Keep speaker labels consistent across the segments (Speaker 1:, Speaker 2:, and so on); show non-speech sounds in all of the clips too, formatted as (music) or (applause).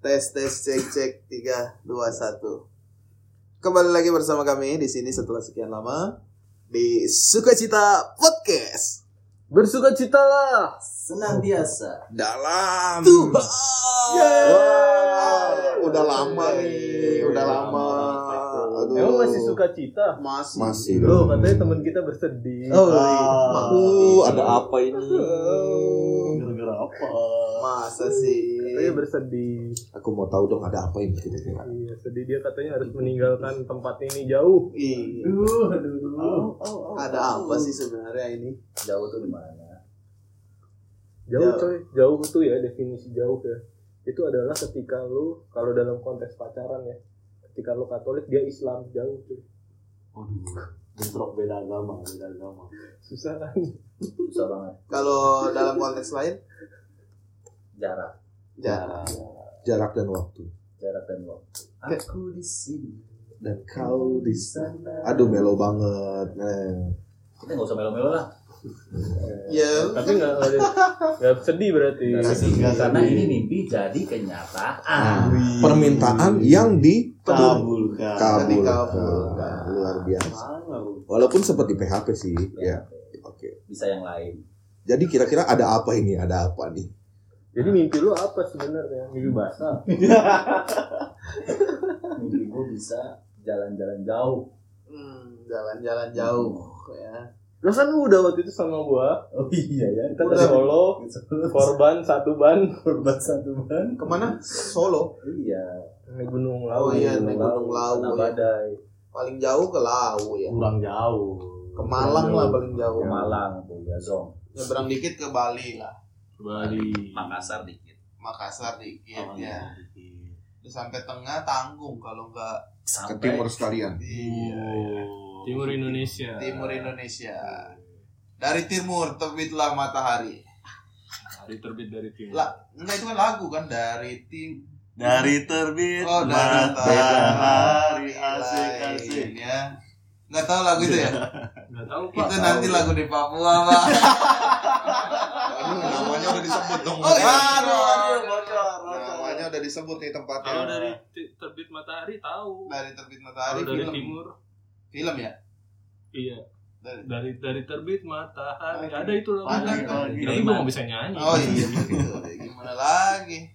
Speaker 1: Tes tes cek cek tiga dua satu. Kembali lagi bersama kami di sini setelah sekian lama di Sukacita Podcast
Speaker 2: Bersuka cita lah.
Speaker 3: senantiasa
Speaker 1: dalam
Speaker 3: Tuhan.
Speaker 1: Yeay.
Speaker 2: Yeay.
Speaker 1: Udah lama nih, udah lama. Aduh.
Speaker 2: Emang masih suka cita?
Speaker 1: Masih.
Speaker 4: Masih
Speaker 2: Loh, katanya teman kita bersedih.
Speaker 1: Oh,
Speaker 4: iya.
Speaker 3: Ah.
Speaker 1: Aduh, ada
Speaker 4: ada apa ini?
Speaker 3: gara-gara apa
Speaker 1: masa sih?
Speaker 2: Katanya bersedih.
Speaker 4: Aku mau tahu dong ada apa ini kira-kira.
Speaker 2: Iya, sedih dia katanya harus meninggalkan tempat ini jauh.
Speaker 1: Ih,
Speaker 3: aduh aduh
Speaker 1: Iya. Ada apa sih sebenarnya ini?
Speaker 3: jauh tuh gimana
Speaker 2: Jauh
Speaker 1: Jauh.
Speaker 2: coy. Jauh tuh ya definisi jauh ya. Itu adalah ketika lu kalau dalam konteks pacaran ya. Ketika lu Katolik dia Islam jauh cuy.
Speaker 3: bentrok beda agama beda agama
Speaker 2: Susah kan?
Speaker 3: susah banget
Speaker 1: Kalau dalam konteks lain,
Speaker 3: jarak
Speaker 1: jarang.
Speaker 4: Jarak dan waktu.
Speaker 3: jarak dan waktu aku di sini
Speaker 4: Dan kau di
Speaker 3: sana
Speaker 4: Aduh melo banget. Eh,
Speaker 3: kita nggak usah melo-melo lah
Speaker 1: Ya,
Speaker 2: Tapi nggak ada nggak sedih berarti.
Speaker 3: Nggak
Speaker 1: sedih.
Speaker 3: sedih,
Speaker 2: Iya.
Speaker 3: karena ini mimpi jadi kenyataan
Speaker 4: permintaan yang di
Speaker 3: Ah. kabulkan
Speaker 4: kabul.
Speaker 1: Dikabulkan.
Speaker 4: Luar biasa. Walaupun sempat di PHP sih. Ya. Oke.
Speaker 3: bisa yang lain
Speaker 4: Jadi kira-kira ada apa ini? Ada apa nih?
Speaker 2: Jadi mimpi lu apa sebenarnya? Mimpi basah.
Speaker 3: (laughs) mimpi gue bisa jalan-jalan jauh
Speaker 1: hmm, jalan-jalan jauh ya.
Speaker 2: Lah kan lu udah waktu itu sama gua.
Speaker 3: oh iya ya
Speaker 2: Kita Gitu. ke (laughs) Solo, korban satu ban
Speaker 3: korban satu ban
Speaker 1: Kemana? Solo.
Speaker 3: iya
Speaker 2: naik gunung
Speaker 1: Oh
Speaker 2: lawu.
Speaker 1: iya, naik Gunung
Speaker 3: Tanah
Speaker 1: Lawu. Ya.
Speaker 3: badai
Speaker 1: Paling jauh ke Lawu ya.
Speaker 5: kurang jauh
Speaker 1: Ke Malang lah paling jauh.
Speaker 3: ke Malang tuh ya Zong
Speaker 1: Nyebrang dikit ke Bali lah.
Speaker 5: Bali
Speaker 3: Makassar dikit
Speaker 1: Makassar dikit ya.
Speaker 5: awalnya
Speaker 1: Terus sampai tengah tanggung kalau nggak
Speaker 4: Ke
Speaker 3: sampai
Speaker 4: timur sekalian.
Speaker 1: iya, ya.
Speaker 2: Timur Indonesia.
Speaker 1: timur Indonesia. Dari timur terbitlah matahari.
Speaker 2: Hari terbit dari timur.
Speaker 1: Lah, enggak itu kan lagu kan dari tim
Speaker 5: dari iya. terbit
Speaker 1: Oh, dari
Speaker 5: matahari asik asik
Speaker 1: asik-asik ya. Nggak tahu lagu itu ya?
Speaker 2: Enggak tahu
Speaker 1: Itu nanti lagu di Papua, (laughs) Pak.
Speaker 4: Aduh, namanya udah disebut dong.
Speaker 1: Oh, iya.
Speaker 4: Aduh.
Speaker 1: aduh,
Speaker 5: bocor
Speaker 4: Namanya udah disebut nih tempatnya.
Speaker 2: dari terbit matahari
Speaker 1: Oh,
Speaker 2: tahu.
Speaker 1: Dari terbit matahari film. Film ya?
Speaker 2: Iya,
Speaker 1: Dari
Speaker 2: dari dari terbit matahari.
Speaker 1: Ada.
Speaker 2: itu
Speaker 1: Ada.
Speaker 5: pagi
Speaker 2: Tapi gua nggak bisa nyanyi.
Speaker 1: Oh iya, begitu. gimana lagi?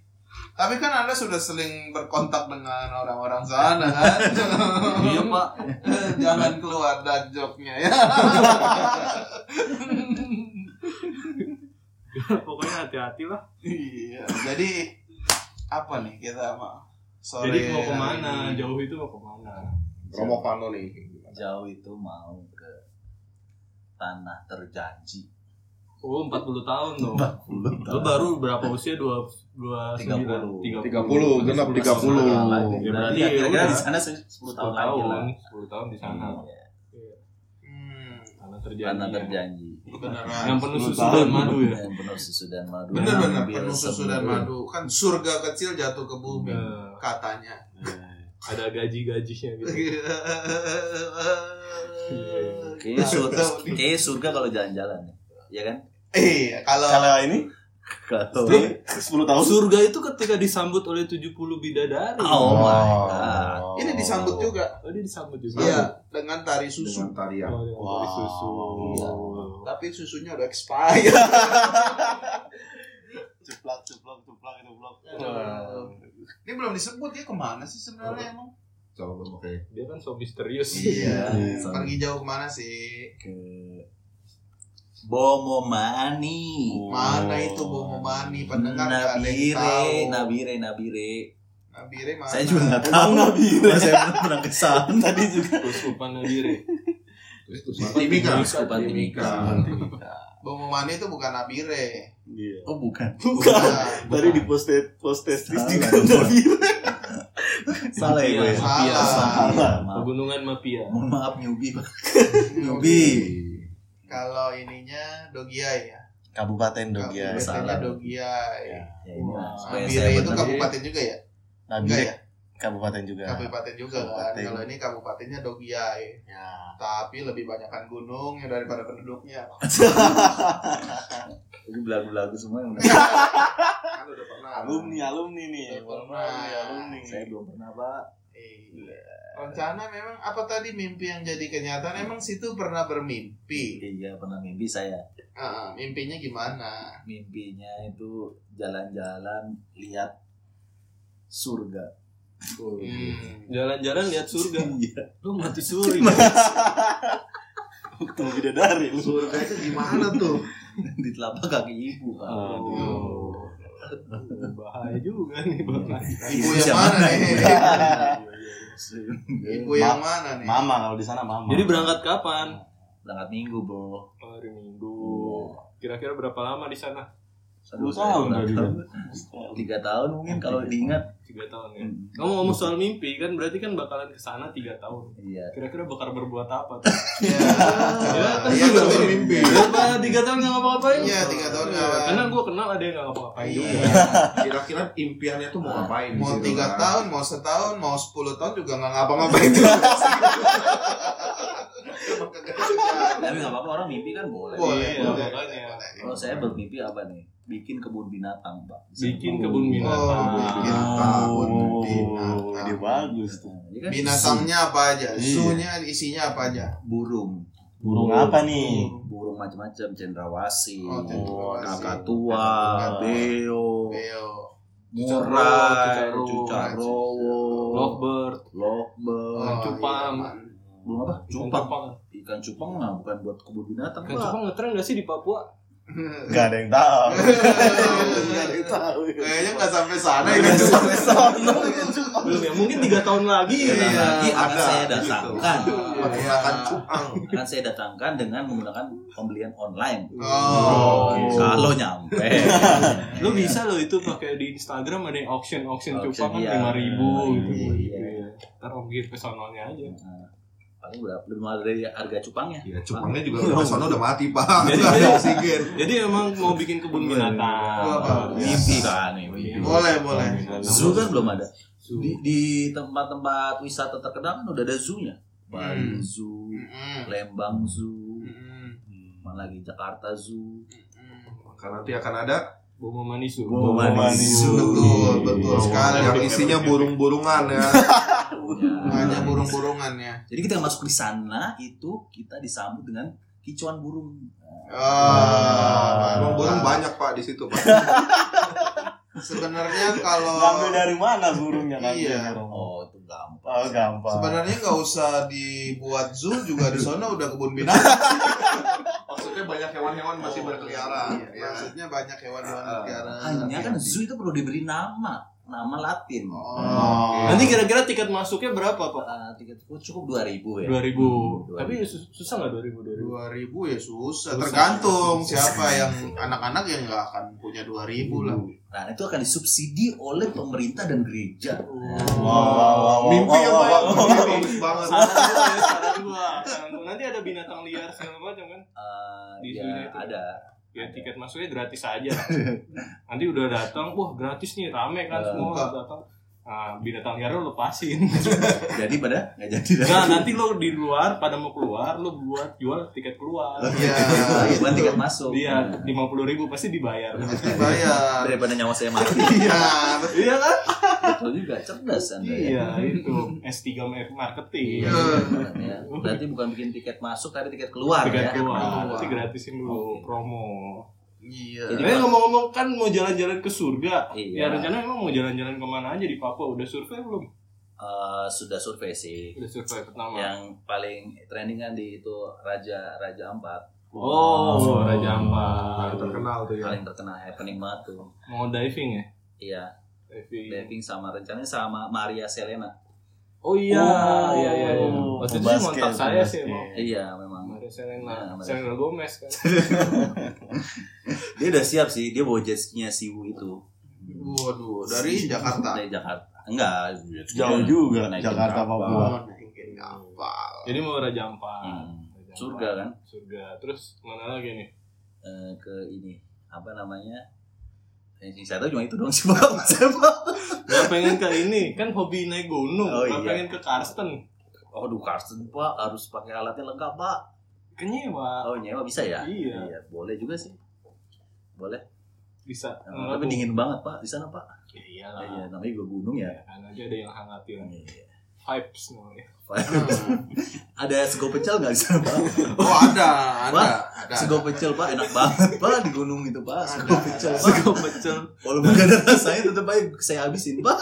Speaker 1: Tapi kan Anda sudah sering berkontak dengan orang-orang sana kan? (laughs)
Speaker 2: Iya, Pak.
Speaker 1: Jangan keluar dan joknya ya.
Speaker 2: (laughs) Pokoknya hati-hati lah.
Speaker 1: iya. Jadi apa nih kita mau sore
Speaker 2: Jadi mau
Speaker 1: hari
Speaker 2: kemana?
Speaker 1: ini?
Speaker 2: Jauh itu mau kemana?
Speaker 4: Romo Pano nih.
Speaker 3: jauh itu mau ke tanah terjanji
Speaker 2: Oh, 40 tahun dong. Lu baru berapa usia? Dua, dua sembilan?
Speaker 3: 30.
Speaker 4: 30, genap 30.
Speaker 2: Ya,
Speaker 3: Tahun lagi. Iya,
Speaker 1: Nah,
Speaker 3: berarti
Speaker 2: berarti
Speaker 1: iya,
Speaker 3: kira-kira
Speaker 2: udah.
Speaker 3: di sana se-
Speaker 2: 10
Speaker 3: 10 tahun lagi lah
Speaker 2: tahun, 10 tahun di sana.
Speaker 3: Iya,
Speaker 1: Hmm,
Speaker 2: Karena terjadi. ya.
Speaker 3: tanah terjanji
Speaker 1: beneran.
Speaker 2: Yang penuh
Speaker 5: 10
Speaker 2: susu
Speaker 5: tahun.
Speaker 2: dan madu (laughs) ya.
Speaker 3: yang penuh susu dan madu
Speaker 1: Bener bener
Speaker 3: Biar
Speaker 1: penuh susu
Speaker 3: sembuh.
Speaker 1: dan madu kan surga kecil jatuh ke bumi
Speaker 2: Eh, (laughs)
Speaker 1: katanya.
Speaker 2: ada gaji-gajinya gitu. iya.
Speaker 3: kayaknya surga
Speaker 1: Tahu nih.
Speaker 3: kayaknya surga kalau jalan-jalan ya kan
Speaker 1: Iya kalau
Speaker 5: kalau ini
Speaker 3: kalau
Speaker 5: ini 10 tahun
Speaker 2: Oh, Surga itu ketika disambut oleh 70 bidadari.
Speaker 3: oh my god
Speaker 1: ini disambut juga
Speaker 2: Oh, dia disambut juga.
Speaker 1: iya dengan tari susu
Speaker 4: tarian.
Speaker 2: Oh, dia dari susu.
Speaker 3: Iya.
Speaker 1: tapi susunya udah expired
Speaker 5: (laughs) ceplak ceplak ceplak ceplak
Speaker 1: Iya. ini belum disebut ya kemana sih sebenarnya emang
Speaker 4: Coba oke.
Speaker 2: Dia kan so misterius.
Speaker 1: iya
Speaker 2: (laughs)
Speaker 3: Iya.
Speaker 1: pergi jauh kemana sih
Speaker 3: ke Bomomani
Speaker 1: mana itu Bomomani pendengar nggak ada yang
Speaker 3: Nabire,
Speaker 1: tahu
Speaker 3: Nabire, Nabire.
Speaker 1: Nabire mana
Speaker 3: Saya juga nggak tahu Nabire. Saya belum pernah
Speaker 1: (laughs)
Speaker 3: kesana tadi juga.
Speaker 2: Kuskupan diri.
Speaker 4: Terus
Speaker 1: Timika.
Speaker 3: Uskupan Timika.
Speaker 1: Bomomani itu bukan Nabire
Speaker 5: iya
Speaker 3: Oh bukan.
Speaker 5: bukan
Speaker 1: Bukan.
Speaker 5: tadi di postet postet di
Speaker 3: Salah.
Speaker 5: juga Nabire.
Speaker 3: Salah ya gue. ya?
Speaker 1: Salah.
Speaker 3: Iya, salah. Maaf.
Speaker 2: Pegunungan Mafia.
Speaker 3: Mohon maaf newbie Pak.
Speaker 1: Newbie. kalau ininya Dogiai ya
Speaker 5: kabupaten
Speaker 1: Kabupatennya
Speaker 3: salah.
Speaker 1: Dogiai
Speaker 3: Ya ini lah. Supaya
Speaker 1: Nabire
Speaker 3: saya
Speaker 1: Oh, itu
Speaker 3: benar.
Speaker 1: kabupaten juga ya? Enggak
Speaker 5: Nabire
Speaker 1: ya?
Speaker 5: kabupaten juga.
Speaker 1: Kabupaten juga kan.
Speaker 5: Kabupaten.
Speaker 1: Kalau ini kabupatennya Dogiai.
Speaker 5: Ya.
Speaker 1: Tapi lebih banyakkan gunungnya daripada penduduknya.
Speaker 3: Ini belagu-belagu semua yang
Speaker 1: Kan udah pernah. Iya,
Speaker 5: Alumni, alumni nih.
Speaker 2: Iya,
Speaker 1: Betul,
Speaker 5: Alumni,
Speaker 1: Pak.
Speaker 5: ya, alumni.
Speaker 3: saya belum pernah pak.
Speaker 1: Iya. Rencana memang apa tadi mimpi yang jadi kenyataan? Emang situ pernah bermimpi?
Speaker 3: Iya pernah mimpi saya.
Speaker 1: Ah, mimpinya gimana?
Speaker 3: Mimpinya itu jalan-jalan lihat surga.
Speaker 5: Iya.
Speaker 1: Hmm.
Speaker 5: Jalan-jalan lihat surga.
Speaker 3: Iya.
Speaker 5: Lu mati suri. Ketemu bidadari lu.
Speaker 1: Surga itu gimana tuh?
Speaker 3: Di telapak kaki ibu pak.
Speaker 1: Oh. Aduh.
Speaker 6: bahaya juga nih
Speaker 2: Iya.
Speaker 6: bahaya
Speaker 1: Ibu yang mana
Speaker 5: (laughs)
Speaker 1: nih?
Speaker 3: Iya.
Speaker 1: Ibu ya? yang mana nih?
Speaker 5: Mama kalau di sana
Speaker 3: Hmm.
Speaker 5: mama.
Speaker 2: Jadi berangkat kapan?
Speaker 3: Berangkat minggu
Speaker 1: Iya.
Speaker 3: bro.
Speaker 6: hari minggu kira-kira berapa lama di sana
Speaker 3: Aduh,
Speaker 5: Sepuluh
Speaker 3: saya
Speaker 5: tahun
Speaker 3: kurang
Speaker 5: tadi.
Speaker 3: tahu.
Speaker 2: kan?
Speaker 3: (laughs) Tiga tahun mungkin kalau diingat.
Speaker 6: tiga tahun ya
Speaker 2: Kamu ngomong soal mimpi kan berarti kan bakalan ke sana 3 tahun.
Speaker 3: Iya.
Speaker 6: kira-kira bakar berbuat apa tuh
Speaker 5: (laughs)
Speaker 1: Ya,
Speaker 5: Iya.
Speaker 1: ya, kan bermimpi.
Speaker 2: Berapa 3 ya, tahun gak ngapa-ngapain?
Speaker 1: Iya, tiga tahun nggak apa-apa. Iya.
Speaker 2: Karena gue kenal ada yang gak ngapa-ngapain juga.
Speaker 4: Iya. Kira-kira impiannya tuh mau ngapain? di
Speaker 1: Mau
Speaker 4: situ,
Speaker 1: tiga
Speaker 4: kan?
Speaker 1: tahun, mau setahun, mau sepuluh tahun juga nggak ngapa-ngapain. Emang kagak kerjaan.
Speaker 3: Tapi nggak apa-apa orang mimpi kan boleh.
Speaker 1: Boleh,
Speaker 6: Iya,
Speaker 1: boleh,
Speaker 6: makanya.
Speaker 1: boleh.
Speaker 3: Kalau saya bermimpi apa nih? Bikin kebun binatang pak.
Speaker 2: Bikin kebun
Speaker 1: Oh,
Speaker 2: binatang.
Speaker 1: binatang,
Speaker 5: Oh,
Speaker 1: binatang.
Speaker 5: Ide bagus tuh.
Speaker 3: Nah, ini kan
Speaker 1: Binatangnya apa aja?
Speaker 5: Iya.
Speaker 1: Zoo-nya isinya apa aja?
Speaker 3: burung,
Speaker 5: Burung apa nih?
Speaker 3: burung macam-macam, cendrawasih,
Speaker 1: Oh, cendrawasih.
Speaker 3: kakatua,
Speaker 1: Kakatua.
Speaker 3: beo,
Speaker 1: Beo.
Speaker 3: murai,
Speaker 2: Cucarowo,
Speaker 3: cucarowo,
Speaker 2: Lovebird,
Speaker 3: lovebird,
Speaker 1: Oh,
Speaker 2: Cupang.
Speaker 1: iya,
Speaker 3: burung apa?
Speaker 2: ikan
Speaker 3: Cupang.
Speaker 2: cupang.
Speaker 3: Ikan cupang mah bukan buat kebun binatang,
Speaker 2: Ikan
Speaker 3: Pak.
Speaker 2: cupang ngetren gak sih di Papua?
Speaker 1: (laughs) apaan?
Speaker 5: Gak ada yang
Speaker 1: (laughs)
Speaker 5: tahu.
Speaker 4: Iya.
Speaker 5: Gak ada yang
Speaker 1: Kayaknya
Speaker 5: tahu.
Speaker 1: nggak sampai sana ya.
Speaker 5: sampai sana.
Speaker 2: Belum ya, mungkin 3 tahun lagi
Speaker 3: Iya,
Speaker 2: ya.
Speaker 1: Iya,
Speaker 3: nanti akan
Speaker 1: ada,
Speaker 3: saya
Speaker 1: gitu.
Speaker 3: datangkan,
Speaker 1: Menggunakan cupang.
Speaker 3: akan saya datangkan dengan menggunakan pembelian online.
Speaker 1: Oh.
Speaker 2: Iya.
Speaker 3: Kalau nyampe,
Speaker 2: Lu bisa loh itu pakai di Instagram ada yang auction auction
Speaker 3: Auction,
Speaker 2: cupang
Speaker 3: iya.
Speaker 2: kan 5000 gitu.
Speaker 3: Iya.
Speaker 2: Iya. Ntar om Gir pesonalnya aja.
Speaker 3: paling berapa? Belum ada dari harga cupangnya.
Speaker 4: Ya, cupangnya juga
Speaker 3: Iya.
Speaker 4: udah sana udah mati, Pak.
Speaker 2: Jadi-
Speaker 4: Nggak ada oksigen.
Speaker 2: Jadi emang mau bikin kebun
Speaker 3: Iya.
Speaker 2: binatang.
Speaker 1: Wah, bagus.
Speaker 3: Mimpi kan, mimpi.
Speaker 1: Boleh, boleh.
Speaker 3: Zoo kan belum ada.
Speaker 2: Gitu.
Speaker 3: Di, di tempat-tempat wisata terkenal kan udah ada zoo-nya. Bali
Speaker 1: Hmm.
Speaker 3: Zoo,
Speaker 1: Mm-mm.
Speaker 3: Lembang Zoo,
Speaker 1: Mm-mm.
Speaker 2: Hmm.
Speaker 3: mana lagi Jakarta Zoo.
Speaker 4: Karena nanti akan ada
Speaker 2: Boma Manisu.
Speaker 1: Betul, betul
Speaker 4: Betul sekali
Speaker 1: sekali.
Speaker 4: yang isinya
Speaker 1: iya.
Speaker 4: burung-burungan ya.
Speaker 1: Hanya
Speaker 3: Ya.
Speaker 1: burung-burungannya.
Speaker 3: Jadi kita masuk di sana itu kita disambut dengan kicauan burung.
Speaker 1: Ah,
Speaker 4: Emang burung
Speaker 1: mantap.
Speaker 4: banyak Pak di situ Pak.
Speaker 1: (laughs) Sebenarnya kalau
Speaker 5: Ngambil dari mana burungnya kan?
Speaker 1: Iya.
Speaker 5: Oh,
Speaker 3: Oh, itu gampang.
Speaker 5: oh gampang.
Speaker 1: sebenarnya nggak usah dibuat zoo juga di sana udah kebun
Speaker 4: (laughs)
Speaker 1: binatang.
Speaker 4: Maksudnya banyak hewan-hewan masih
Speaker 2: Oh.
Speaker 4: berkeliaran.
Speaker 1: Iya, Maksudnya banyak hewan-hewan
Speaker 4: Ah.
Speaker 1: berkeliaran.
Speaker 3: Hanya kan zoo itu perlu diberi nama, nama Latin.
Speaker 1: Oh.
Speaker 2: Nanti kira-kira tiket masuknya berapa, Pak?
Speaker 3: Eh, tiga cukup cukup dua ribu ya.
Speaker 2: 2000.
Speaker 3: Hmm,
Speaker 2: Tapi sus- susah enggak 2000 2000?
Speaker 1: 2000 ya susah, tergantung siapa yang anak-anak yang nggak akan punya 2000 lah.
Speaker 3: Nah itu akan disubsidi oleh pemerintah dan gereja.
Speaker 5: Wow, wow, wow, wow,
Speaker 4: Mimpi
Speaker 5: wow,
Speaker 4: yang
Speaker 5: wow,
Speaker 4: banyak
Speaker 5: wow.
Speaker 4: mimpi banget.
Speaker 5: (laughs)
Speaker 2: Saran gua, ya, saran gua. Saran gua. Nanti ada binatang liar segala macam kan.
Speaker 3: Eh,
Speaker 2: Di
Speaker 3: ya,
Speaker 2: zoo-nya itu.
Speaker 3: ada.
Speaker 2: Ya tiket masuknya gratis aja. Nanti udah datang, wah gratis nih, rame kan semua
Speaker 1: Buka.
Speaker 2: datang. Nah, binatang liar lo lepasin.
Speaker 3: Jadi pada nggak jadi.
Speaker 2: Nah, (laughs) nanti lo di luar pada mau keluar, lo buat jual tiket keluar.
Speaker 1: Iya,
Speaker 3: Bukan
Speaker 1: itu.
Speaker 3: tiket masuk.
Speaker 2: Dia
Speaker 3: Nah,
Speaker 2: 50.000 ribu pasti dibayar.
Speaker 1: Pasti bayar.
Speaker 3: daripada nyawa saya mati.
Speaker 1: Iya, betul.
Speaker 2: Iya kan?
Speaker 3: Betul juga cerdas anda ya.
Speaker 2: Iya, itu S3 marketing.
Speaker 3: Ya, Berarti bukan bikin tiket masuk tapi tiket keluar
Speaker 2: Tiket
Speaker 3: ya.
Speaker 2: Iya, keluar, Oh.
Speaker 1: keluar.
Speaker 2: nanti gratisin dulu
Speaker 3: Oke.
Speaker 2: promo.
Speaker 1: Iya.
Speaker 3: Jadi-
Speaker 2: Eh ngomong-ngomong kan mau jalan-jalan ke surga. Ya
Speaker 3: Iya.
Speaker 2: rencana emang mau jalan-jalan kemana aja di Papua? Udah survei belum?
Speaker 3: Eh, sudah survei sih.
Speaker 2: Udah survei pertama.
Speaker 3: Yang paling trending kan di itu Raja Raja Ampat
Speaker 2: Oh, Raja Ampat.
Speaker 1: Iya.
Speaker 4: Terkenal tuh ya.
Speaker 3: paling terkenal happening banget tuh.
Speaker 2: Mau diving ya?
Speaker 3: Iya,
Speaker 2: Diving.
Speaker 3: diving sama rencananya sama Maria Selena.
Speaker 2: Oh iya, iya iya. iya.
Speaker 5: Oh,
Speaker 2: Waktu itu sih
Speaker 5: basket,
Speaker 2: kontak saya
Speaker 5: basket.
Speaker 2: sih emang.
Speaker 3: Iya, memang.
Speaker 2: Maria Selena,
Speaker 3: Nah, Maria.
Speaker 2: Selena Gomez
Speaker 3: (laughs)
Speaker 2: kan.
Speaker 3: Dia udah siap sih, dia bawa jet skinya Siwu itu.
Speaker 1: Waduh, dari Jakarta.
Speaker 3: Dari Jakarta. Enggak, Iya.
Speaker 5: Jauh juga
Speaker 3: Naikin
Speaker 5: Jakarta
Speaker 3: kapal.
Speaker 5: Papua.
Speaker 1: Oh, naikin kapal.
Speaker 2: Jadi mau Raja Ampat.
Speaker 3: Hmm,
Speaker 2: Raja Ampat.
Speaker 3: Surga kan?
Speaker 2: Surga. Terus mana lagi nih?
Speaker 3: eh, ke ini apa namanya? Yang saya tahu cuma itu doang sih (laughs) bang. Saya Bang.
Speaker 2: Gak pengen ke ini, kan hobi naik gunung.
Speaker 3: Oh,
Speaker 2: Gak
Speaker 3: iya.
Speaker 2: pengen ke Karsten.
Speaker 3: Aduh Karsten pak harus pakai alatnya lengkap pak.
Speaker 2: Kenyewa.
Speaker 3: Oh nyewa bisa ya?
Speaker 2: Iya.
Speaker 3: boleh juga sih. Boleh.
Speaker 2: Bisa.
Speaker 3: Nah, tapi dingin banget pak di sana pak.
Speaker 2: Ya
Speaker 3: Ya,
Speaker 2: iyalah.
Speaker 3: Iya namanya juga gunung ya.
Speaker 2: Kan aja ada yang hangatin.
Speaker 3: Iya.
Speaker 2: Vibes namanya.
Speaker 3: Ada sego pecel nggak di sana pak?
Speaker 7: Oh ada, ada,
Speaker 3: Wah,
Speaker 7: ada.
Speaker 3: Sego pecel pak enak banget pak di gunung itu pak. (laughs) Sego pecel pak.
Speaker 2: Sego pecel.
Speaker 3: Walaupun gak ada rasanya tetap aja saya habisin pak.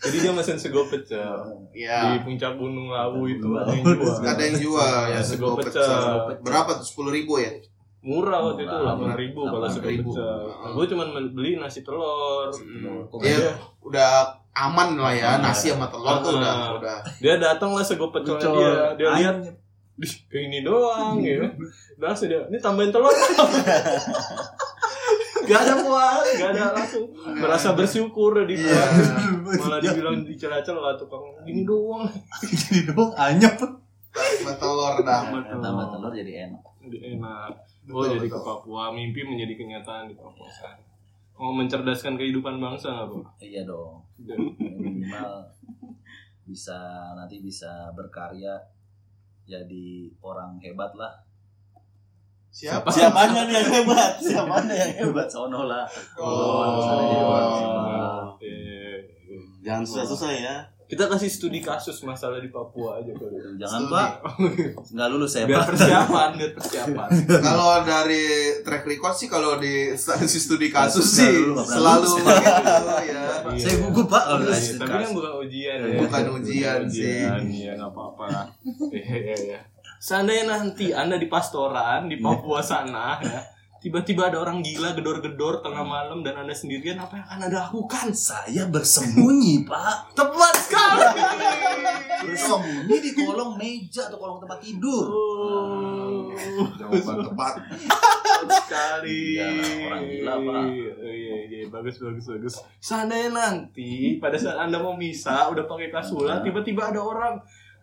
Speaker 2: Jadi dia mesen sego pecel. Di
Speaker 7: Iya.
Speaker 2: puncak gunung Lawu Ya, itu
Speaker 3: Ya. Gunung
Speaker 2: ada yang jual.
Speaker 3: Lawu.
Speaker 7: Ada yang jual ya sego pecel.
Speaker 3: pecel.
Speaker 7: Berapa tuh? Sepuluh ribu ya?
Speaker 2: Murah waktu itu
Speaker 3: Murah,
Speaker 2: delapan ribu kalau sego
Speaker 7: 8.000.
Speaker 2: pecel. Gue cuma beli nasi telur.
Speaker 3: Iya.
Speaker 7: Ya udah aman lah ya
Speaker 2: Iya.
Speaker 7: nasi sama telur tuh
Speaker 2: Ah.
Speaker 7: udah udah.
Speaker 2: Dia datang lah sego pecelnya dia. Dia lihat
Speaker 3: ayamnya.
Speaker 2: Dih, kayak ini doang ya. Langsung dia, ini tambahin telur. (laughs) gak ada puas, gak ada langsung. Merasa bersyukur di
Speaker 7: Iya.
Speaker 2: Malah
Speaker 3: Iya.
Speaker 2: (laughs) dibilang dicela-cela tukang ini doang.
Speaker 3: Jadi doang anyep.
Speaker 7: Sama telur dah.
Speaker 3: Tambah telur jadi enak.
Speaker 2: Enak.
Speaker 7: Betul,
Speaker 2: Oh jadi ke
Speaker 7: betul.
Speaker 2: Papua, mimpi menjadi kenyataan di Papua sana. Mau mencerdaskan kehidupan bangsa nggak, Bro?
Speaker 3: Iya dong.
Speaker 2: Dan-
Speaker 3: minimal bisa nanti bisa berkarya jadi orang hebat lah
Speaker 7: Siapa?
Speaker 5: Siapanya nih yang hebat? Siapanya yang hebat?
Speaker 3: hebat sono lah
Speaker 7: Oh.
Speaker 2: Iya.
Speaker 5: Jangan susah-susah ya.
Speaker 2: Kita kasih studi kasus masalah di Papua aja kali.
Speaker 3: jangan
Speaker 7: Studi.
Speaker 3: pak
Speaker 2: (laughs)
Speaker 3: nggak lulus saya
Speaker 2: Biar
Speaker 3: pak
Speaker 2: persiapan, biar persiapan.
Speaker 7: Kalau dari track record sih kalau di (laughs) studi studi kasus
Speaker 3: Kasus
Speaker 7: sih
Speaker 3: selalu nggak pernah
Speaker 7: selalu pakai gitu ya.
Speaker 2: Iya.
Speaker 3: saya gugup pak
Speaker 2: Iya,
Speaker 3: lulus
Speaker 2: tapi kan bukan ujian ya.
Speaker 7: Bukan ujian sih.
Speaker 2: Iya, enggak apa-apa
Speaker 7: (laughs)
Speaker 2: lah. Iya, iya, iya. Seandainya nanti Anda di pastoran di Papua sana ya, tiba-tiba ada orang gila gedor-gedor tengah malam dan Anda sendirian apa yang akan Anda lakukan?
Speaker 3: saya bersembunyi pak
Speaker 2: Tepat sekali.
Speaker 3: bersembunyi di kolong meja atau kolong tempat tidur
Speaker 2: Oh.
Speaker 7: Jawaban tepat.
Speaker 2: Tepat sekali.
Speaker 3: Iyalah, orang gila, Pak.
Speaker 2: Iya, Iya, iya, bagus bagus bagus. Seandainya nanti pada saat Anda mau misa udah pakai kasulan, tiba-tiba ada orang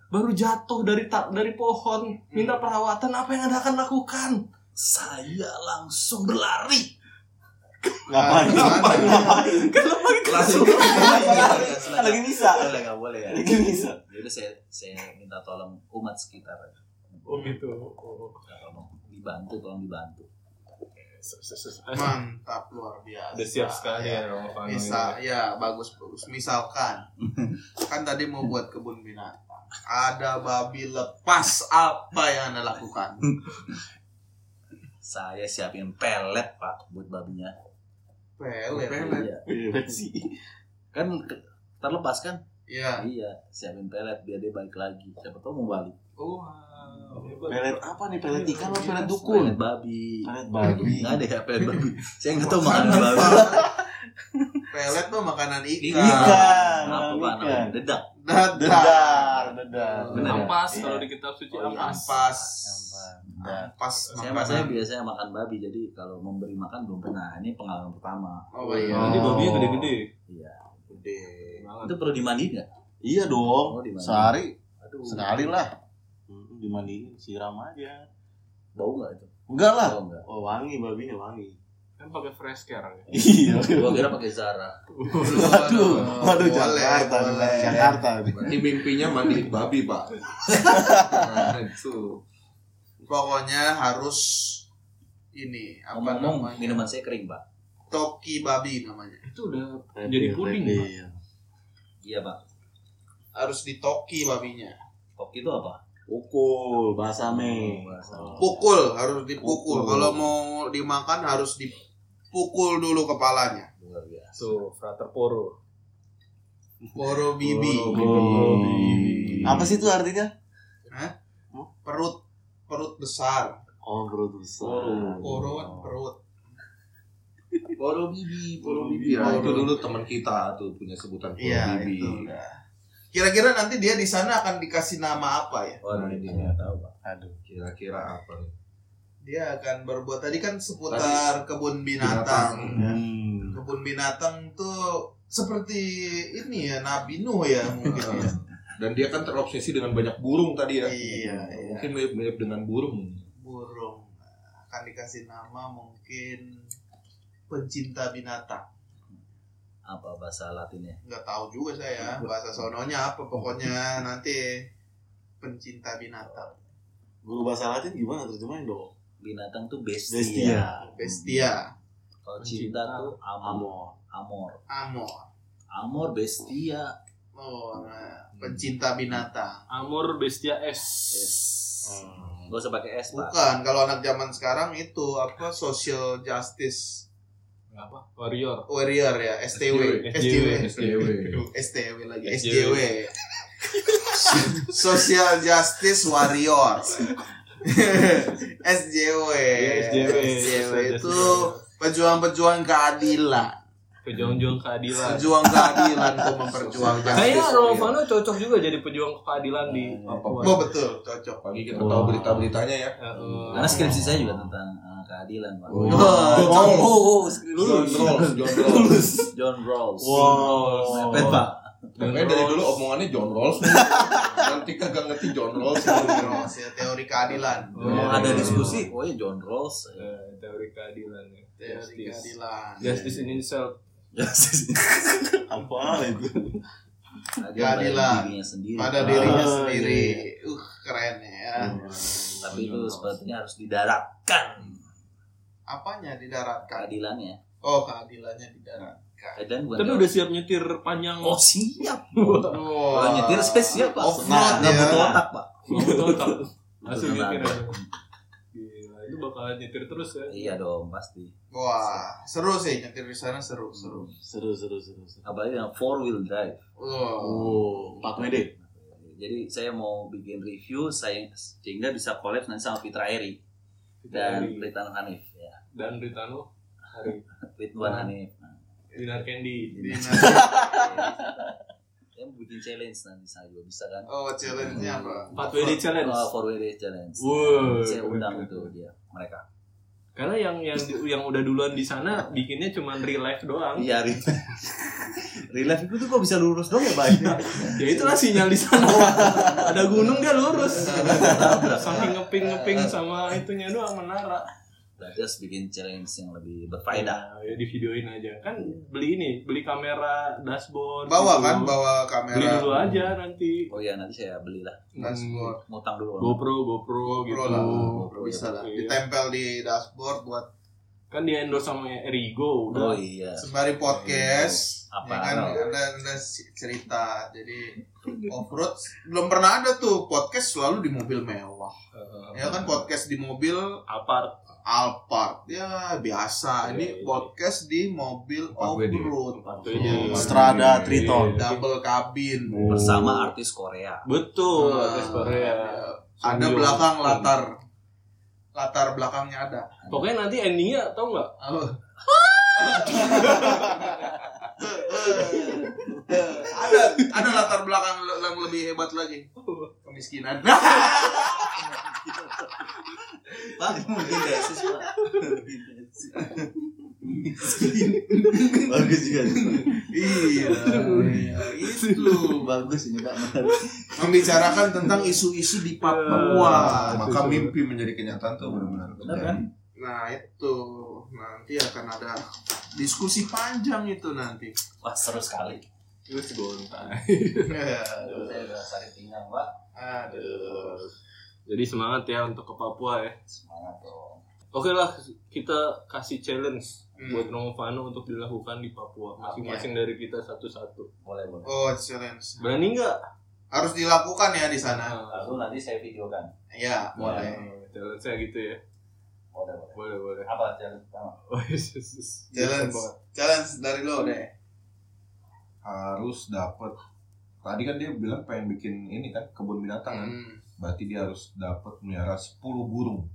Speaker 2: baru jatuh dari tak dari pohon minta perawatan apa yang anda akan lakukan
Speaker 3: saya langsung berlari
Speaker 5: Ngapain? Ngapain? Ngapain?
Speaker 3: langsung berlari
Speaker 5: Lagi bisa.
Speaker 3: iya, boleh nggak boleh ya
Speaker 5: Lagi bisa.
Speaker 3: jadi saya saya minta tolong umat sekitar
Speaker 2: Oh gitu. Oh.
Speaker 3: tolong dibantu tolong dibantu
Speaker 7: Mantap luar biasa.
Speaker 2: Udah siap sekali ya Romano.
Speaker 7: Bisa, ya bagus bagus. Misalkan, kan tadi mau buat kebun binatang, ada babi lepas apa yang anda lakukan?
Speaker 3: saya siapin pelet pak buat babinya
Speaker 5: Oh,
Speaker 7: Pelet.
Speaker 3: Iya. kan ke- terlepas kan
Speaker 7: Iya.
Speaker 3: iya siapin pelet biar dia balik lagi siapa tahu mau balik
Speaker 2: ya?
Speaker 3: Iya,
Speaker 5: Pelet apa nih? Pelet ikan apa pelet dukun?
Speaker 3: pelet babi
Speaker 5: Pelet
Speaker 3: nggak ada ya pelet babi saya nggak tahu
Speaker 7: Makanan
Speaker 3: makanan babi
Speaker 7: Pelet tuh makanan ikan.
Speaker 5: Ikan.
Speaker 3: apa pak namanya
Speaker 5: Ikan.
Speaker 3: dedak
Speaker 5: Dedar, dedar.
Speaker 3: Bener ya?
Speaker 2: Ampas
Speaker 5: Iya.
Speaker 2: kalau di kitab suci
Speaker 3: Oh, iya.
Speaker 2: ampas.
Speaker 7: Ampas.
Speaker 3: Nah,
Speaker 5: Dedar.
Speaker 7: Ampas
Speaker 3: saya masanya
Speaker 7: makanan.
Speaker 3: biasanya makan babi jadi kalau memberi makan belum pernah ini pengalaman pertama
Speaker 7: Oh iya.
Speaker 2: Nanti babinya gede-gede.
Speaker 7: Gede.
Speaker 2: Banget.
Speaker 3: itu perlu dimandiin nggak
Speaker 5: Iya dong.
Speaker 3: Oh, dimana?
Speaker 5: Sehari
Speaker 3: aduh
Speaker 5: sekali lah. Mm, Dimandiin, siram aja.
Speaker 3: bau nggak itu
Speaker 5: Enggak lah.
Speaker 3: bau nggak
Speaker 5: Oh, wangi babinya wangi.
Speaker 2: Kan pakai fresh care.
Speaker 5: Iya.
Speaker 3: gua kira pakai zara
Speaker 5: Waduh, waduh
Speaker 7: Boleh,
Speaker 5: Jakarta,
Speaker 7: boleh.
Speaker 5: Jakarta nih.
Speaker 8: Berarti mimpinya mandi babi, Pak. Nah, itu.
Speaker 7: Pokoknya harus ini apa
Speaker 3: ngomong-ngomong
Speaker 7: namanya?
Speaker 3: minuman saya kering pak
Speaker 7: Toki babi namanya.
Speaker 2: Itu udah Jadi puding,
Speaker 5: Iya.
Speaker 3: iya pak
Speaker 7: Harus ditoki babinya.
Speaker 3: kopi itu apa
Speaker 5: Pukul, bahasa me.
Speaker 7: Pukul harus dipukul.
Speaker 5: Pukul.
Speaker 7: Kalau mau dimakan harus dipukul dulu kepalanya.
Speaker 3: luar biasa
Speaker 2: tuh frater poro.
Speaker 7: Poro bibi,
Speaker 8: Oh.
Speaker 5: Apa sih itu artinya?
Speaker 7: perut perut besar.
Speaker 5: Oh, perut besar.
Speaker 7: Poro kan
Speaker 3: (laughs)
Speaker 7: perut.
Speaker 8: Poro bibi, poro bibi.
Speaker 3: Nah,
Speaker 8: Ya, itu dulu teman kita tuh punya sebutan poro
Speaker 7: Iya,
Speaker 8: bibi.
Speaker 7: itu udah. Kira-kira nanti dia di sana akan dikasih nama apa ya?
Speaker 3: Oh, ini dia nggak tahu pak.
Speaker 8: Kira-kira apa nih?
Speaker 7: Dia akan berbuat tadi kan seputar kebun binatang.
Speaker 5: Hmm.
Speaker 7: Kebun binatang tuh seperti ini ya Nabi Nuh ya mungkin. ya.
Speaker 8: Dan dia kan terobsesi dengan banyak burung tadi ya.
Speaker 7: iya, iya.
Speaker 8: Mungkin mirip-mirip dengan burung.
Speaker 7: Burung akan dikasih nama Kan mungkin pencinta binatang.
Speaker 3: apa bahasa Latinnya?
Speaker 7: Nggak tahu juga saya ya, bahasa sononya apa pokoknya nanti pencinta binatang.
Speaker 5: Guru bahasa Latin gimana terjemahin dong?
Speaker 3: Binatang tuh bestia.
Speaker 5: Bestia.
Speaker 3: Oh,
Speaker 7: Bestia,
Speaker 3: Kalau cinta tuh amor.
Speaker 5: Amor.
Speaker 3: Amor.
Speaker 7: amor.
Speaker 3: Amor bestia.
Speaker 7: Oh, nah, pencinta binatang.
Speaker 2: Amor Bestia S. Hmm.
Speaker 3: Yes. Gak usah pakai S, Pak.
Speaker 7: Bukan kalau anak zaman sekarang itu apa social justice
Speaker 2: Apa? Warrior.
Speaker 7: warrior ya STW
Speaker 2: SJW.
Speaker 7: STW STW lagi SJW social justice warrior SJW
Speaker 2: SJW.
Speaker 7: SJW itu pejuang-pejuang keadilan
Speaker 2: Pejuang-juang keadilan.
Speaker 7: pejuang keadilan untuk memperjuangkan
Speaker 2: Kayaknya
Speaker 7: justice warrior.
Speaker 2: Romano cocok juga jadi pejuang keadilan di Papua. Eh,
Speaker 7: Oh, betul cocok
Speaker 8: Pagi kita tahu berita-beritanya ya.
Speaker 2: Heeh.
Speaker 3: Karena skripsi saya juga tentang eh, keadilan, Pak.
Speaker 8: Oh.
Speaker 2: iya.
Speaker 7: Wah,
Speaker 3: Oh,
Speaker 7: cocok.
Speaker 3: oh, oh,
Speaker 8: John
Speaker 3: lulus.
Speaker 8: Rawls,
Speaker 1: (laughs)
Speaker 8: John Rawls.
Speaker 3: John Rawls.
Speaker 2: Wow.
Speaker 3: Mepet, Pak.
Speaker 8: Makanya dari dulu omongannya John Rawls. Nanti kagak ngerti John Rawls.
Speaker 7: Rawls ya, teori keadilan
Speaker 2: Oh,
Speaker 3: Oh,
Speaker 2: ada
Speaker 3: ada
Speaker 2: di
Speaker 3: diskusi, oh ya John Rawls.
Speaker 2: Eh, teori keadilan ya.
Speaker 7: teori
Speaker 2: Justice.
Speaker 7: keadilan
Speaker 2: Justice in itself.
Speaker 3: Ya,
Speaker 5: Apa itu?
Speaker 7: Keadilan.
Speaker 3: dirinya sendiri.
Speaker 7: pada
Speaker 3: Pak.
Speaker 7: dirinya sendiri uh keren ya
Speaker 3: Tapi itu sepertinya harus didaratkan
Speaker 7: apanya didaratkan
Speaker 3: keadilannya.
Speaker 7: oh keadilannya didaratkan
Speaker 3: Keadilan bukan.
Speaker 2: Tapi Kan udah siap nyetir panjang.
Speaker 3: Oh siap.
Speaker 7: Wah.
Speaker 3: Kalau nyetir spesial pak. Nah,
Speaker 7: off road
Speaker 3: Nggak- nggak
Speaker 7: ya
Speaker 3: butuh otak pak.
Speaker 2: Total. Langsung
Speaker 3: Betul,
Speaker 2: nyetir
Speaker 3: Pak.
Speaker 2: aja. Gila, itu bakalan nyetir terus ya.
Speaker 3: Iya dong pasti.
Speaker 7: wah seru sih nyetir di sana seru seru
Speaker 5: Seru seru seru. seru.
Speaker 3: Apalagi yang four wheel drive.
Speaker 7: Wah.
Speaker 5: Oh, 4 WD.
Speaker 3: Jadi saya mau bikin review saya sehingga bisa collab nanti sama Fitra Eri dan
Speaker 2: Dari-
Speaker 3: Ridwan Hanif ya.
Speaker 2: dan Ritano hari
Speaker 3: Ridwan Hanif. Nah,
Speaker 2: Dinar Candy.
Speaker 7: Dinas-
Speaker 3: saya mau bikin challenge nanti saya juga bisa kan.
Speaker 7: oh challenge-nya apa
Speaker 2: 4WD challenge.
Speaker 3: Oh, four wheel drive challenge.
Speaker 2: Wow.
Speaker 3: Saya undang itu dia mereka.
Speaker 2: Karena yang yang yang udah duluan di sana bikinnya cuman real life doang.
Speaker 3: Iya, (laughs) re- relief itu tuh kok bisa lurus dong ya, Pak?
Speaker 2: Ya itulah sinyal di sana. Ada gunung dia lurus. Saking ngeping-ngeping
Speaker 7: Iya.
Speaker 2: sama itunya doang menara.
Speaker 3: Terus Nah, bikin challenge yang lebih
Speaker 2: Nah,
Speaker 3: berfaedah.
Speaker 2: ya di videoin aja. Kan beli ini, beli kamera dashboard.
Speaker 7: bawa
Speaker 2: gitu.
Speaker 7: kan bawa
Speaker 2: Beli dulu
Speaker 7: kamera
Speaker 2: aja nanti. Hmm.
Speaker 3: Oh iya, nanti saya belilah.
Speaker 7: dashboard
Speaker 3: Ngutang dulu.
Speaker 2: GoPro, GoPro,
Speaker 7: GoPro
Speaker 2: gitu.
Speaker 7: lah
Speaker 3: GoPro,
Speaker 7: bisa lah
Speaker 2: iya.
Speaker 7: ditempel di dashboard buat
Speaker 2: Kan di endorse sama Erigo
Speaker 3: Oh
Speaker 2: udah.
Speaker 3: iya.
Speaker 7: sembari podcast
Speaker 3: Apa?
Speaker 7: ya kan ada, ada cerita jadi off road belum pernah ada tuh podcast selalu di mobil mewah ya kan podcast di mobil
Speaker 2: Eh, Apart.
Speaker 7: Alphard ya
Speaker 2: Iya,
Speaker 7: biasa ini
Speaker 2: iya.
Speaker 7: podcast di mobil off
Speaker 8: WD.
Speaker 7: road
Speaker 2: Patuhnya.
Speaker 5: Strada Triton.
Speaker 7: double kabin
Speaker 3: Bersama artis Korea.
Speaker 2: Betul,
Speaker 7: Ah,
Speaker 2: artis Korea.
Speaker 7: ada
Speaker 2: Sambil-
Speaker 7: belakang latar latar belakangnya ada
Speaker 2: Pokoknya nanti endingnya tau nggak?
Speaker 3: (laughs)
Speaker 7: Apa? ada ada latar belakang yang lebih hebat lagi kemiskinan (laughs)
Speaker 3: Pak, mungkin desis, Pak.
Speaker 5: Bagus juga.
Speaker 7: iya itu
Speaker 3: Bagus ini, Pak.
Speaker 7: membicarakan tentang isu-isu di
Speaker 3: Iya,
Speaker 7: Papua
Speaker 8: Maka mimpi menjadi kenyataan tuh benar-benar.
Speaker 3: Benar kan?
Speaker 7: Nah itu nanti akan ada diskusi panjang itu nanti.
Speaker 3: Wah, seru sekali.
Speaker 2: Terus gontai.
Speaker 3: Saya udah sakit pinggang, Pak.
Speaker 7: Aduh.
Speaker 2: Jadi semangat ya untuk ke Papua ya.
Speaker 3: Semangat dong.
Speaker 2: Oke lah, kita kasih challenge
Speaker 7: Hmm.
Speaker 2: buat Romovano untuk dilakukan di Papua. Masing-masing dari kita satu-satu.
Speaker 3: Boleh, boleh.
Speaker 7: Oh challenge
Speaker 2: Berani nggak? Nah,
Speaker 7: harus dilakukan ya di sana.
Speaker 3: Lalu nanti saya videokan.
Speaker 7: Ya boleh.
Speaker 2: Challenge saya gitu ya.
Speaker 3: Boleh, boleh.
Speaker 2: Boleh boleh. (laughs)
Speaker 3: Apa challenge pertama?
Speaker 2: Oh, Yesus.
Speaker 7: Challenge challenge dari lo deh.
Speaker 8: Harus dapat. Tadi kan dia bilang pengen bikin ini kan kebun binatang kan.
Speaker 7: Hmm.
Speaker 8: Berarti dia harus dapat melihara 10 burung.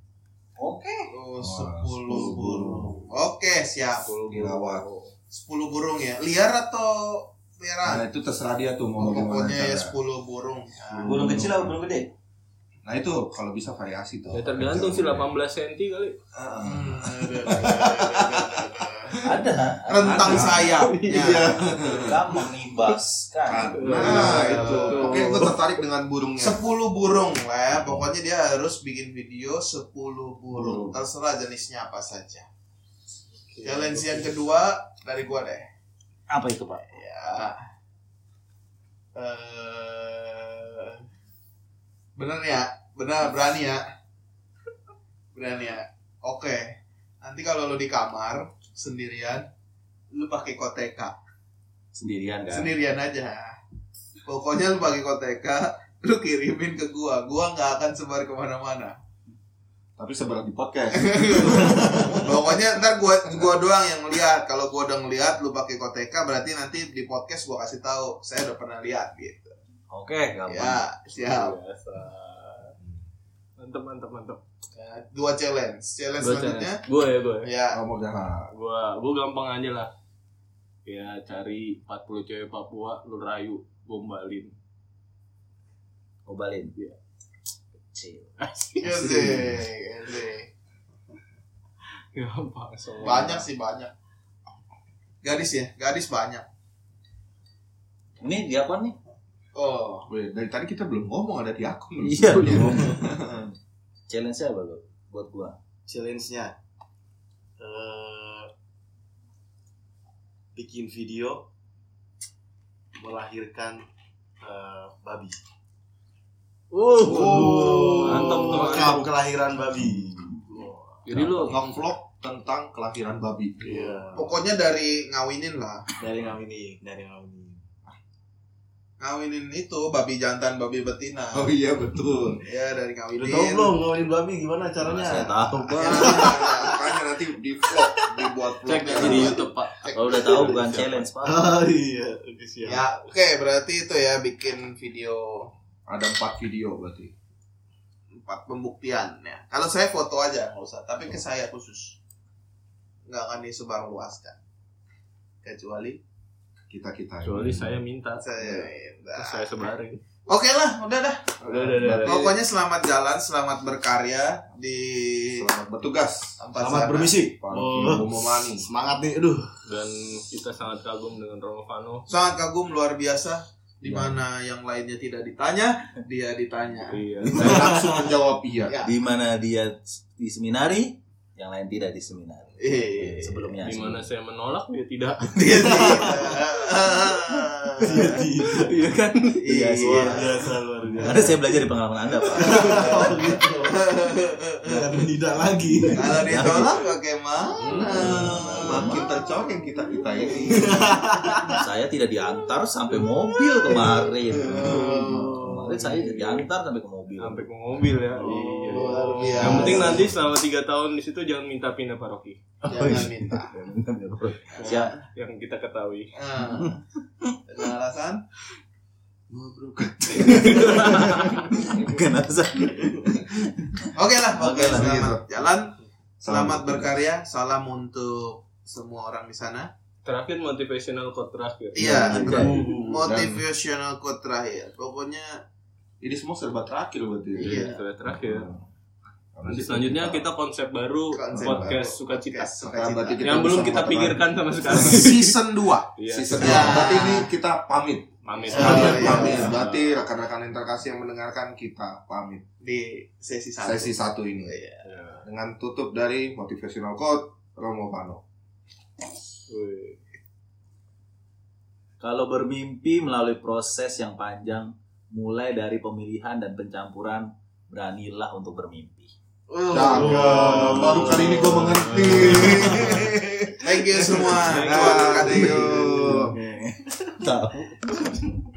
Speaker 3: Oke.
Speaker 7: Oh,
Speaker 8: Wah,
Speaker 7: sepuluh
Speaker 8: 10
Speaker 7: burung. Oke siap.
Speaker 8: 10 dirawat.
Speaker 7: Sepuluh burung ya. Liar atau
Speaker 8: Nah
Speaker 7: peliharaan?
Speaker 8: itu terserah dia tuh
Speaker 5: Oh,
Speaker 8: mau gimana
Speaker 7: Pokoknya ya
Speaker 8: cara.
Speaker 7: sepuluh burung. Ya.
Speaker 5: Burung kecil apa burung gede?
Speaker 8: Nah itu kalau bisa variasi tuh.
Speaker 2: Ya tergantung sih 18 cm kali.
Speaker 8: Heeh.
Speaker 7: Hmm, ada, ada, ada, ada, ada.
Speaker 3: Ada.
Speaker 7: Rentang sayap. (laughs) Ya.
Speaker 3: Kita mengibaskan.
Speaker 8: Nah itu.
Speaker 7: Betul.
Speaker 8: Oke gue tertarik dengan burungnya.
Speaker 7: 10 burung lah ya. Pokoknya dia harus bikin video 10 burung. Terserah jenisnya apa saja.
Speaker 2: Oke.
Speaker 1: Challenge yang kedua dari gua deh.
Speaker 3: Apa itu pak?
Speaker 1: Ya. Eh, bener ya, bener berani ya, berani ya. Oke, nanti kalau lo di kamar sendirian, lu pakai koteka,
Speaker 3: Sendirian kan?
Speaker 1: sendirian aja. Pokoknya lu pakai koteka, lu kirimin ke gua, gua nggak akan sebar kemana-mana.
Speaker 8: Tapi seberat di podcast.
Speaker 5: (laughs)
Speaker 1: Pokoknya ntar gua gua doang yang ngeliat. Kalau gua udah ngeliat lu pakai koteka berarti nanti di podcast gua kasih tahu saya udah pernah lihat gitu.
Speaker 3: Oke, gampang.
Speaker 1: Ya, siap.
Speaker 2: Biasa. Mantep, mantep, mantep.
Speaker 1: Nah, Dua challenge. Challenge
Speaker 2: Gua
Speaker 1: selanjutnya
Speaker 2: challenge. Gua ya, gua ya.
Speaker 1: ya
Speaker 8: Ngomong jangan.
Speaker 2: Gua, gua gampang aja lah. Ya cari 40 cewek Papua, lu rayu, (laughs) gombalin.
Speaker 3: Obalin. Kecil.
Speaker 1: Asik,
Speaker 7: Iya
Speaker 1: asik.
Speaker 2: Ya, Gampang semua.
Speaker 1: Banyak sih banyak. Gadis ya, gadis banyak.
Speaker 3: Ini dia apa nih?
Speaker 1: Oh,
Speaker 8: Weh, dari tadi kita belum ngomong ada di akun.
Speaker 3: Iya, belum. Challenge-nya apa lo? Buat gua.
Speaker 5: challenge-nya eh bikin video melahirkan eh, babi.
Speaker 2: Wuh.
Speaker 5: Mantap,
Speaker 2: Mantap tuh,
Speaker 5: rekam
Speaker 2: mantap.
Speaker 5: kelahiran babi.
Speaker 2: Jadi lu
Speaker 8: Ngevlog tentang kelahiran babi.
Speaker 5: Iya.
Speaker 1: pokoknya dari ngawinin lah.
Speaker 5: Dari ngawini, dari ngawini.
Speaker 1: Ngawinin itu babi jantan, babi betina.
Speaker 8: Oh iya betul.
Speaker 1: Ya dari
Speaker 5: Udah tahu
Speaker 1: ngawinin.
Speaker 5: belum ngawinin babi gimana caranya?
Speaker 3: Saya tahu
Speaker 1: Ya,
Speaker 3: pak.
Speaker 8: Makanya nanti di vlog dibuat vlog.
Speaker 2: cek aja di YouTube, Pak.
Speaker 3: Kalau udah tahu bukan challenge pak.
Speaker 5: Ah iya, oke siap.
Speaker 1: ya oke berarti itu ya bikin video
Speaker 8: Ada empat video berarti.
Speaker 1: empat pembuktian ya. Kalau saya foto aja nggak usah, tapi ke saya khusus nggak akan disebar luaskan kecuali
Speaker 8: Kita kita.
Speaker 2: Kecuali saya minta.
Speaker 1: saya.
Speaker 2: Terus saya sebarin.
Speaker 1: Oke lah, udah dah.
Speaker 2: Udah, udah, udah.
Speaker 7: Iya.
Speaker 2: udah.
Speaker 1: Pokoknya selamat jalan, selamat berkarya di
Speaker 8: Selamat bertugas.
Speaker 1: tempat
Speaker 5: Selamat
Speaker 1: sana.
Speaker 5: bermisi.
Speaker 8: Pagi Bomomani.
Speaker 5: Semangat nih, aduh.
Speaker 2: Dan kita sangat kagum dengan Romano.
Speaker 1: Sangat kagum luar biasa di mana yang lainnya tidak ditanya, dia ditanya.
Speaker 2: Iya.
Speaker 8: Saya langsung menjawab iya.
Speaker 1: Ya.
Speaker 3: Di mana dia di seminari, yang lain tidak di seminari.
Speaker 1: Eh,
Speaker 3: Sebelumnya.
Speaker 2: Di mana saya menolak dia tidak.
Speaker 1: dia tidak.
Speaker 2: Iya kan?
Speaker 3: (laughs) Iya sih.
Speaker 5: Luar biasa, luar biasa.
Speaker 3: Karena saya belajar di pengalaman anda pak.
Speaker 5: Oh, gitu. Jangan tidak lagi.
Speaker 1: Kalau ditolak bagaimana?
Speaker 8: Makin tercoreng kita kita ini.
Speaker 3: saya tidak diantar sampai mobil kemarin. Kemarin saya diantar sampai ke mobil.
Speaker 2: Sampai ke mobil ya. Iya.
Speaker 1: Luar biasa.
Speaker 2: Yang penting nanti selama 3 tahun di situ jangan minta pindah paroki.
Speaker 1: jangan minta.
Speaker 3: Siap.
Speaker 2: Yang kita ketahui.
Speaker 1: Nah, dengan alasan
Speaker 3: Bukan alasan.
Speaker 1: Oke lah, oke
Speaker 3: Oke lah,
Speaker 1: selamat jalan, selamat berkarya, salam untuk semua orang di sana.
Speaker 2: Terakhir motivational quote terakhir.
Speaker 1: Iya,
Speaker 3: Oke.
Speaker 1: betul. motivational quote terakhir. Pokoknya
Speaker 8: Ini semua serba terakhir berarti.
Speaker 1: Iya.
Speaker 2: Sudah terakhir.
Speaker 8: Habis
Speaker 2: Nanti
Speaker 8: itu
Speaker 2: selanjutnya kita konsep baru
Speaker 1: Konsep
Speaker 2: podcast sukacita.
Speaker 1: podcast
Speaker 8: Sekarang berarti
Speaker 1: Sukacita.
Speaker 8: kita
Speaker 2: Yang belum
Speaker 8: bersama
Speaker 2: kita
Speaker 8: teman.
Speaker 2: pikirkan sama sekali.
Speaker 1: season 2.
Speaker 2: (laughs) Iya.
Speaker 8: Season
Speaker 1: Ya.
Speaker 8: dua. Berarti ini kita pamit.
Speaker 2: Pamit.
Speaker 1: Sekalian
Speaker 8: Kalian
Speaker 1: iya.
Speaker 8: pamit. Berarti rekan-rekan interkasi yang mendengarkan kita pamit.
Speaker 1: di sesi Iya. 1.
Speaker 8: Sesi satu ini. Dengan tutup dari motivational quote Romo Pano.
Speaker 2: Wih.
Speaker 3: Kalau bermimpi melalui proses yang panjang, mulai dari pemilihan dan pencampuran, beranilah untuk bermimpi.
Speaker 8: Cakep. Baru kali ini gue mengerti.
Speaker 1: Thank you semua.
Speaker 8: Nah,
Speaker 1: Terima kasih.
Speaker 8: thank you.
Speaker 3: Tahu.